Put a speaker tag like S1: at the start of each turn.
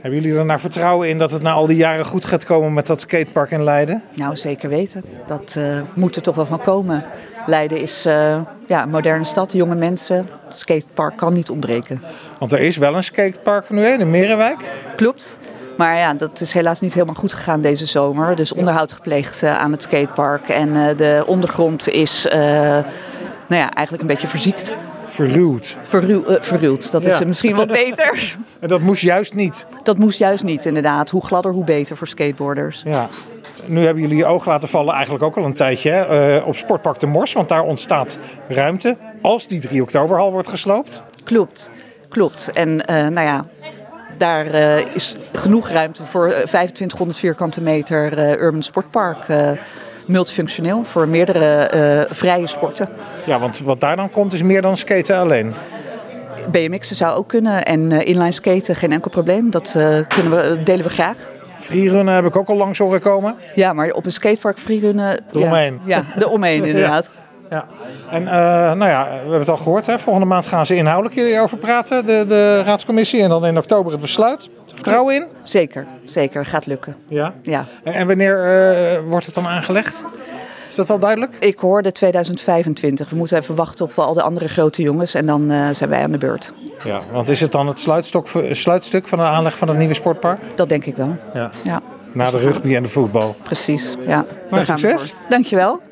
S1: Hebben jullie er nou vertrouwen in dat het na al die jaren goed gaat komen met dat skatepark in Leiden?
S2: Nou, zeker weten. Dat eh, moet er toch wel van komen. Leiden is eh, ja, een moderne stad, jonge mensen. Het skatepark kan niet ontbreken.
S1: Want er is wel een skatepark nu hè, in Merenwijk.
S2: Klopt. Maar ja, dat is helaas niet helemaal goed gegaan deze zomer. Dus onderhoud gepleegd eh, aan het skatepark. En eh, de ondergrond is eh, nou ja, eigenlijk een beetje verziekt.
S1: Verruwd.
S2: Verruw, eh, verruwd, dat is
S1: Ja.
S2: misschien wat beter.
S1: En dat moest juist niet.
S2: Dat moest juist niet, inderdaad. Hoe gladder, hoe beter voor skateboarders.
S1: Ja. Nu hebben jullie je oog laten vallen eigenlijk ook al een tijdje hè, eh, op Sportpark de Mors. Want daar ontstaat ruimte als die 3 oktoberhal wordt gesloopt.
S2: Klopt, klopt. En eh, nou ja, daar eh, is genoeg ruimte voor eh, 2500 vierkante meter eh, urban sportpark. eh, multifunctioneel voor meerdere eh, vrije sporten.
S1: Ja, want wat daar dan komt is meer dan skaten alleen.
S2: BMX'en zou ook kunnen en eh, inline skaten, geen enkel probleem. Dat eh, kunnen we, delen we graag.
S1: Freerunnen heb ik ook al langs horen komen.
S2: Ja, maar op een skatepark freerunnen... ja,
S1: omheen.
S2: Ja, de omheen inderdaad.
S1: Ja. En eh, nou ja, we hebben het al gehoord. Hè? Volgende maand gaan ze inhoudelijk hierover praten, de, de raadscommissie. En dan in oktober het besluit. Vertrouwen in.
S2: Zeker, zeker. Gaat lukken.
S1: Ja.
S2: Ja.
S1: En, en wanneer eh, wordt het dan aangelegd? Is dat al duidelijk?
S2: Ik hoorde 2025. We moeten even wachten op al de andere grote jongens en dan eh, zijn wij aan de beurt.
S1: Ja, want is het dan het sluitstok, sluitstuk van de aanleg van het nieuwe sportpark?
S2: Dat denk ik wel.
S1: Ja.
S2: Ja,
S1: Na de rugby en de voetbal.
S2: precies. Ja.
S1: Maar
S2: Daar gaan we
S1: succes.
S2: voor. Dankjewel.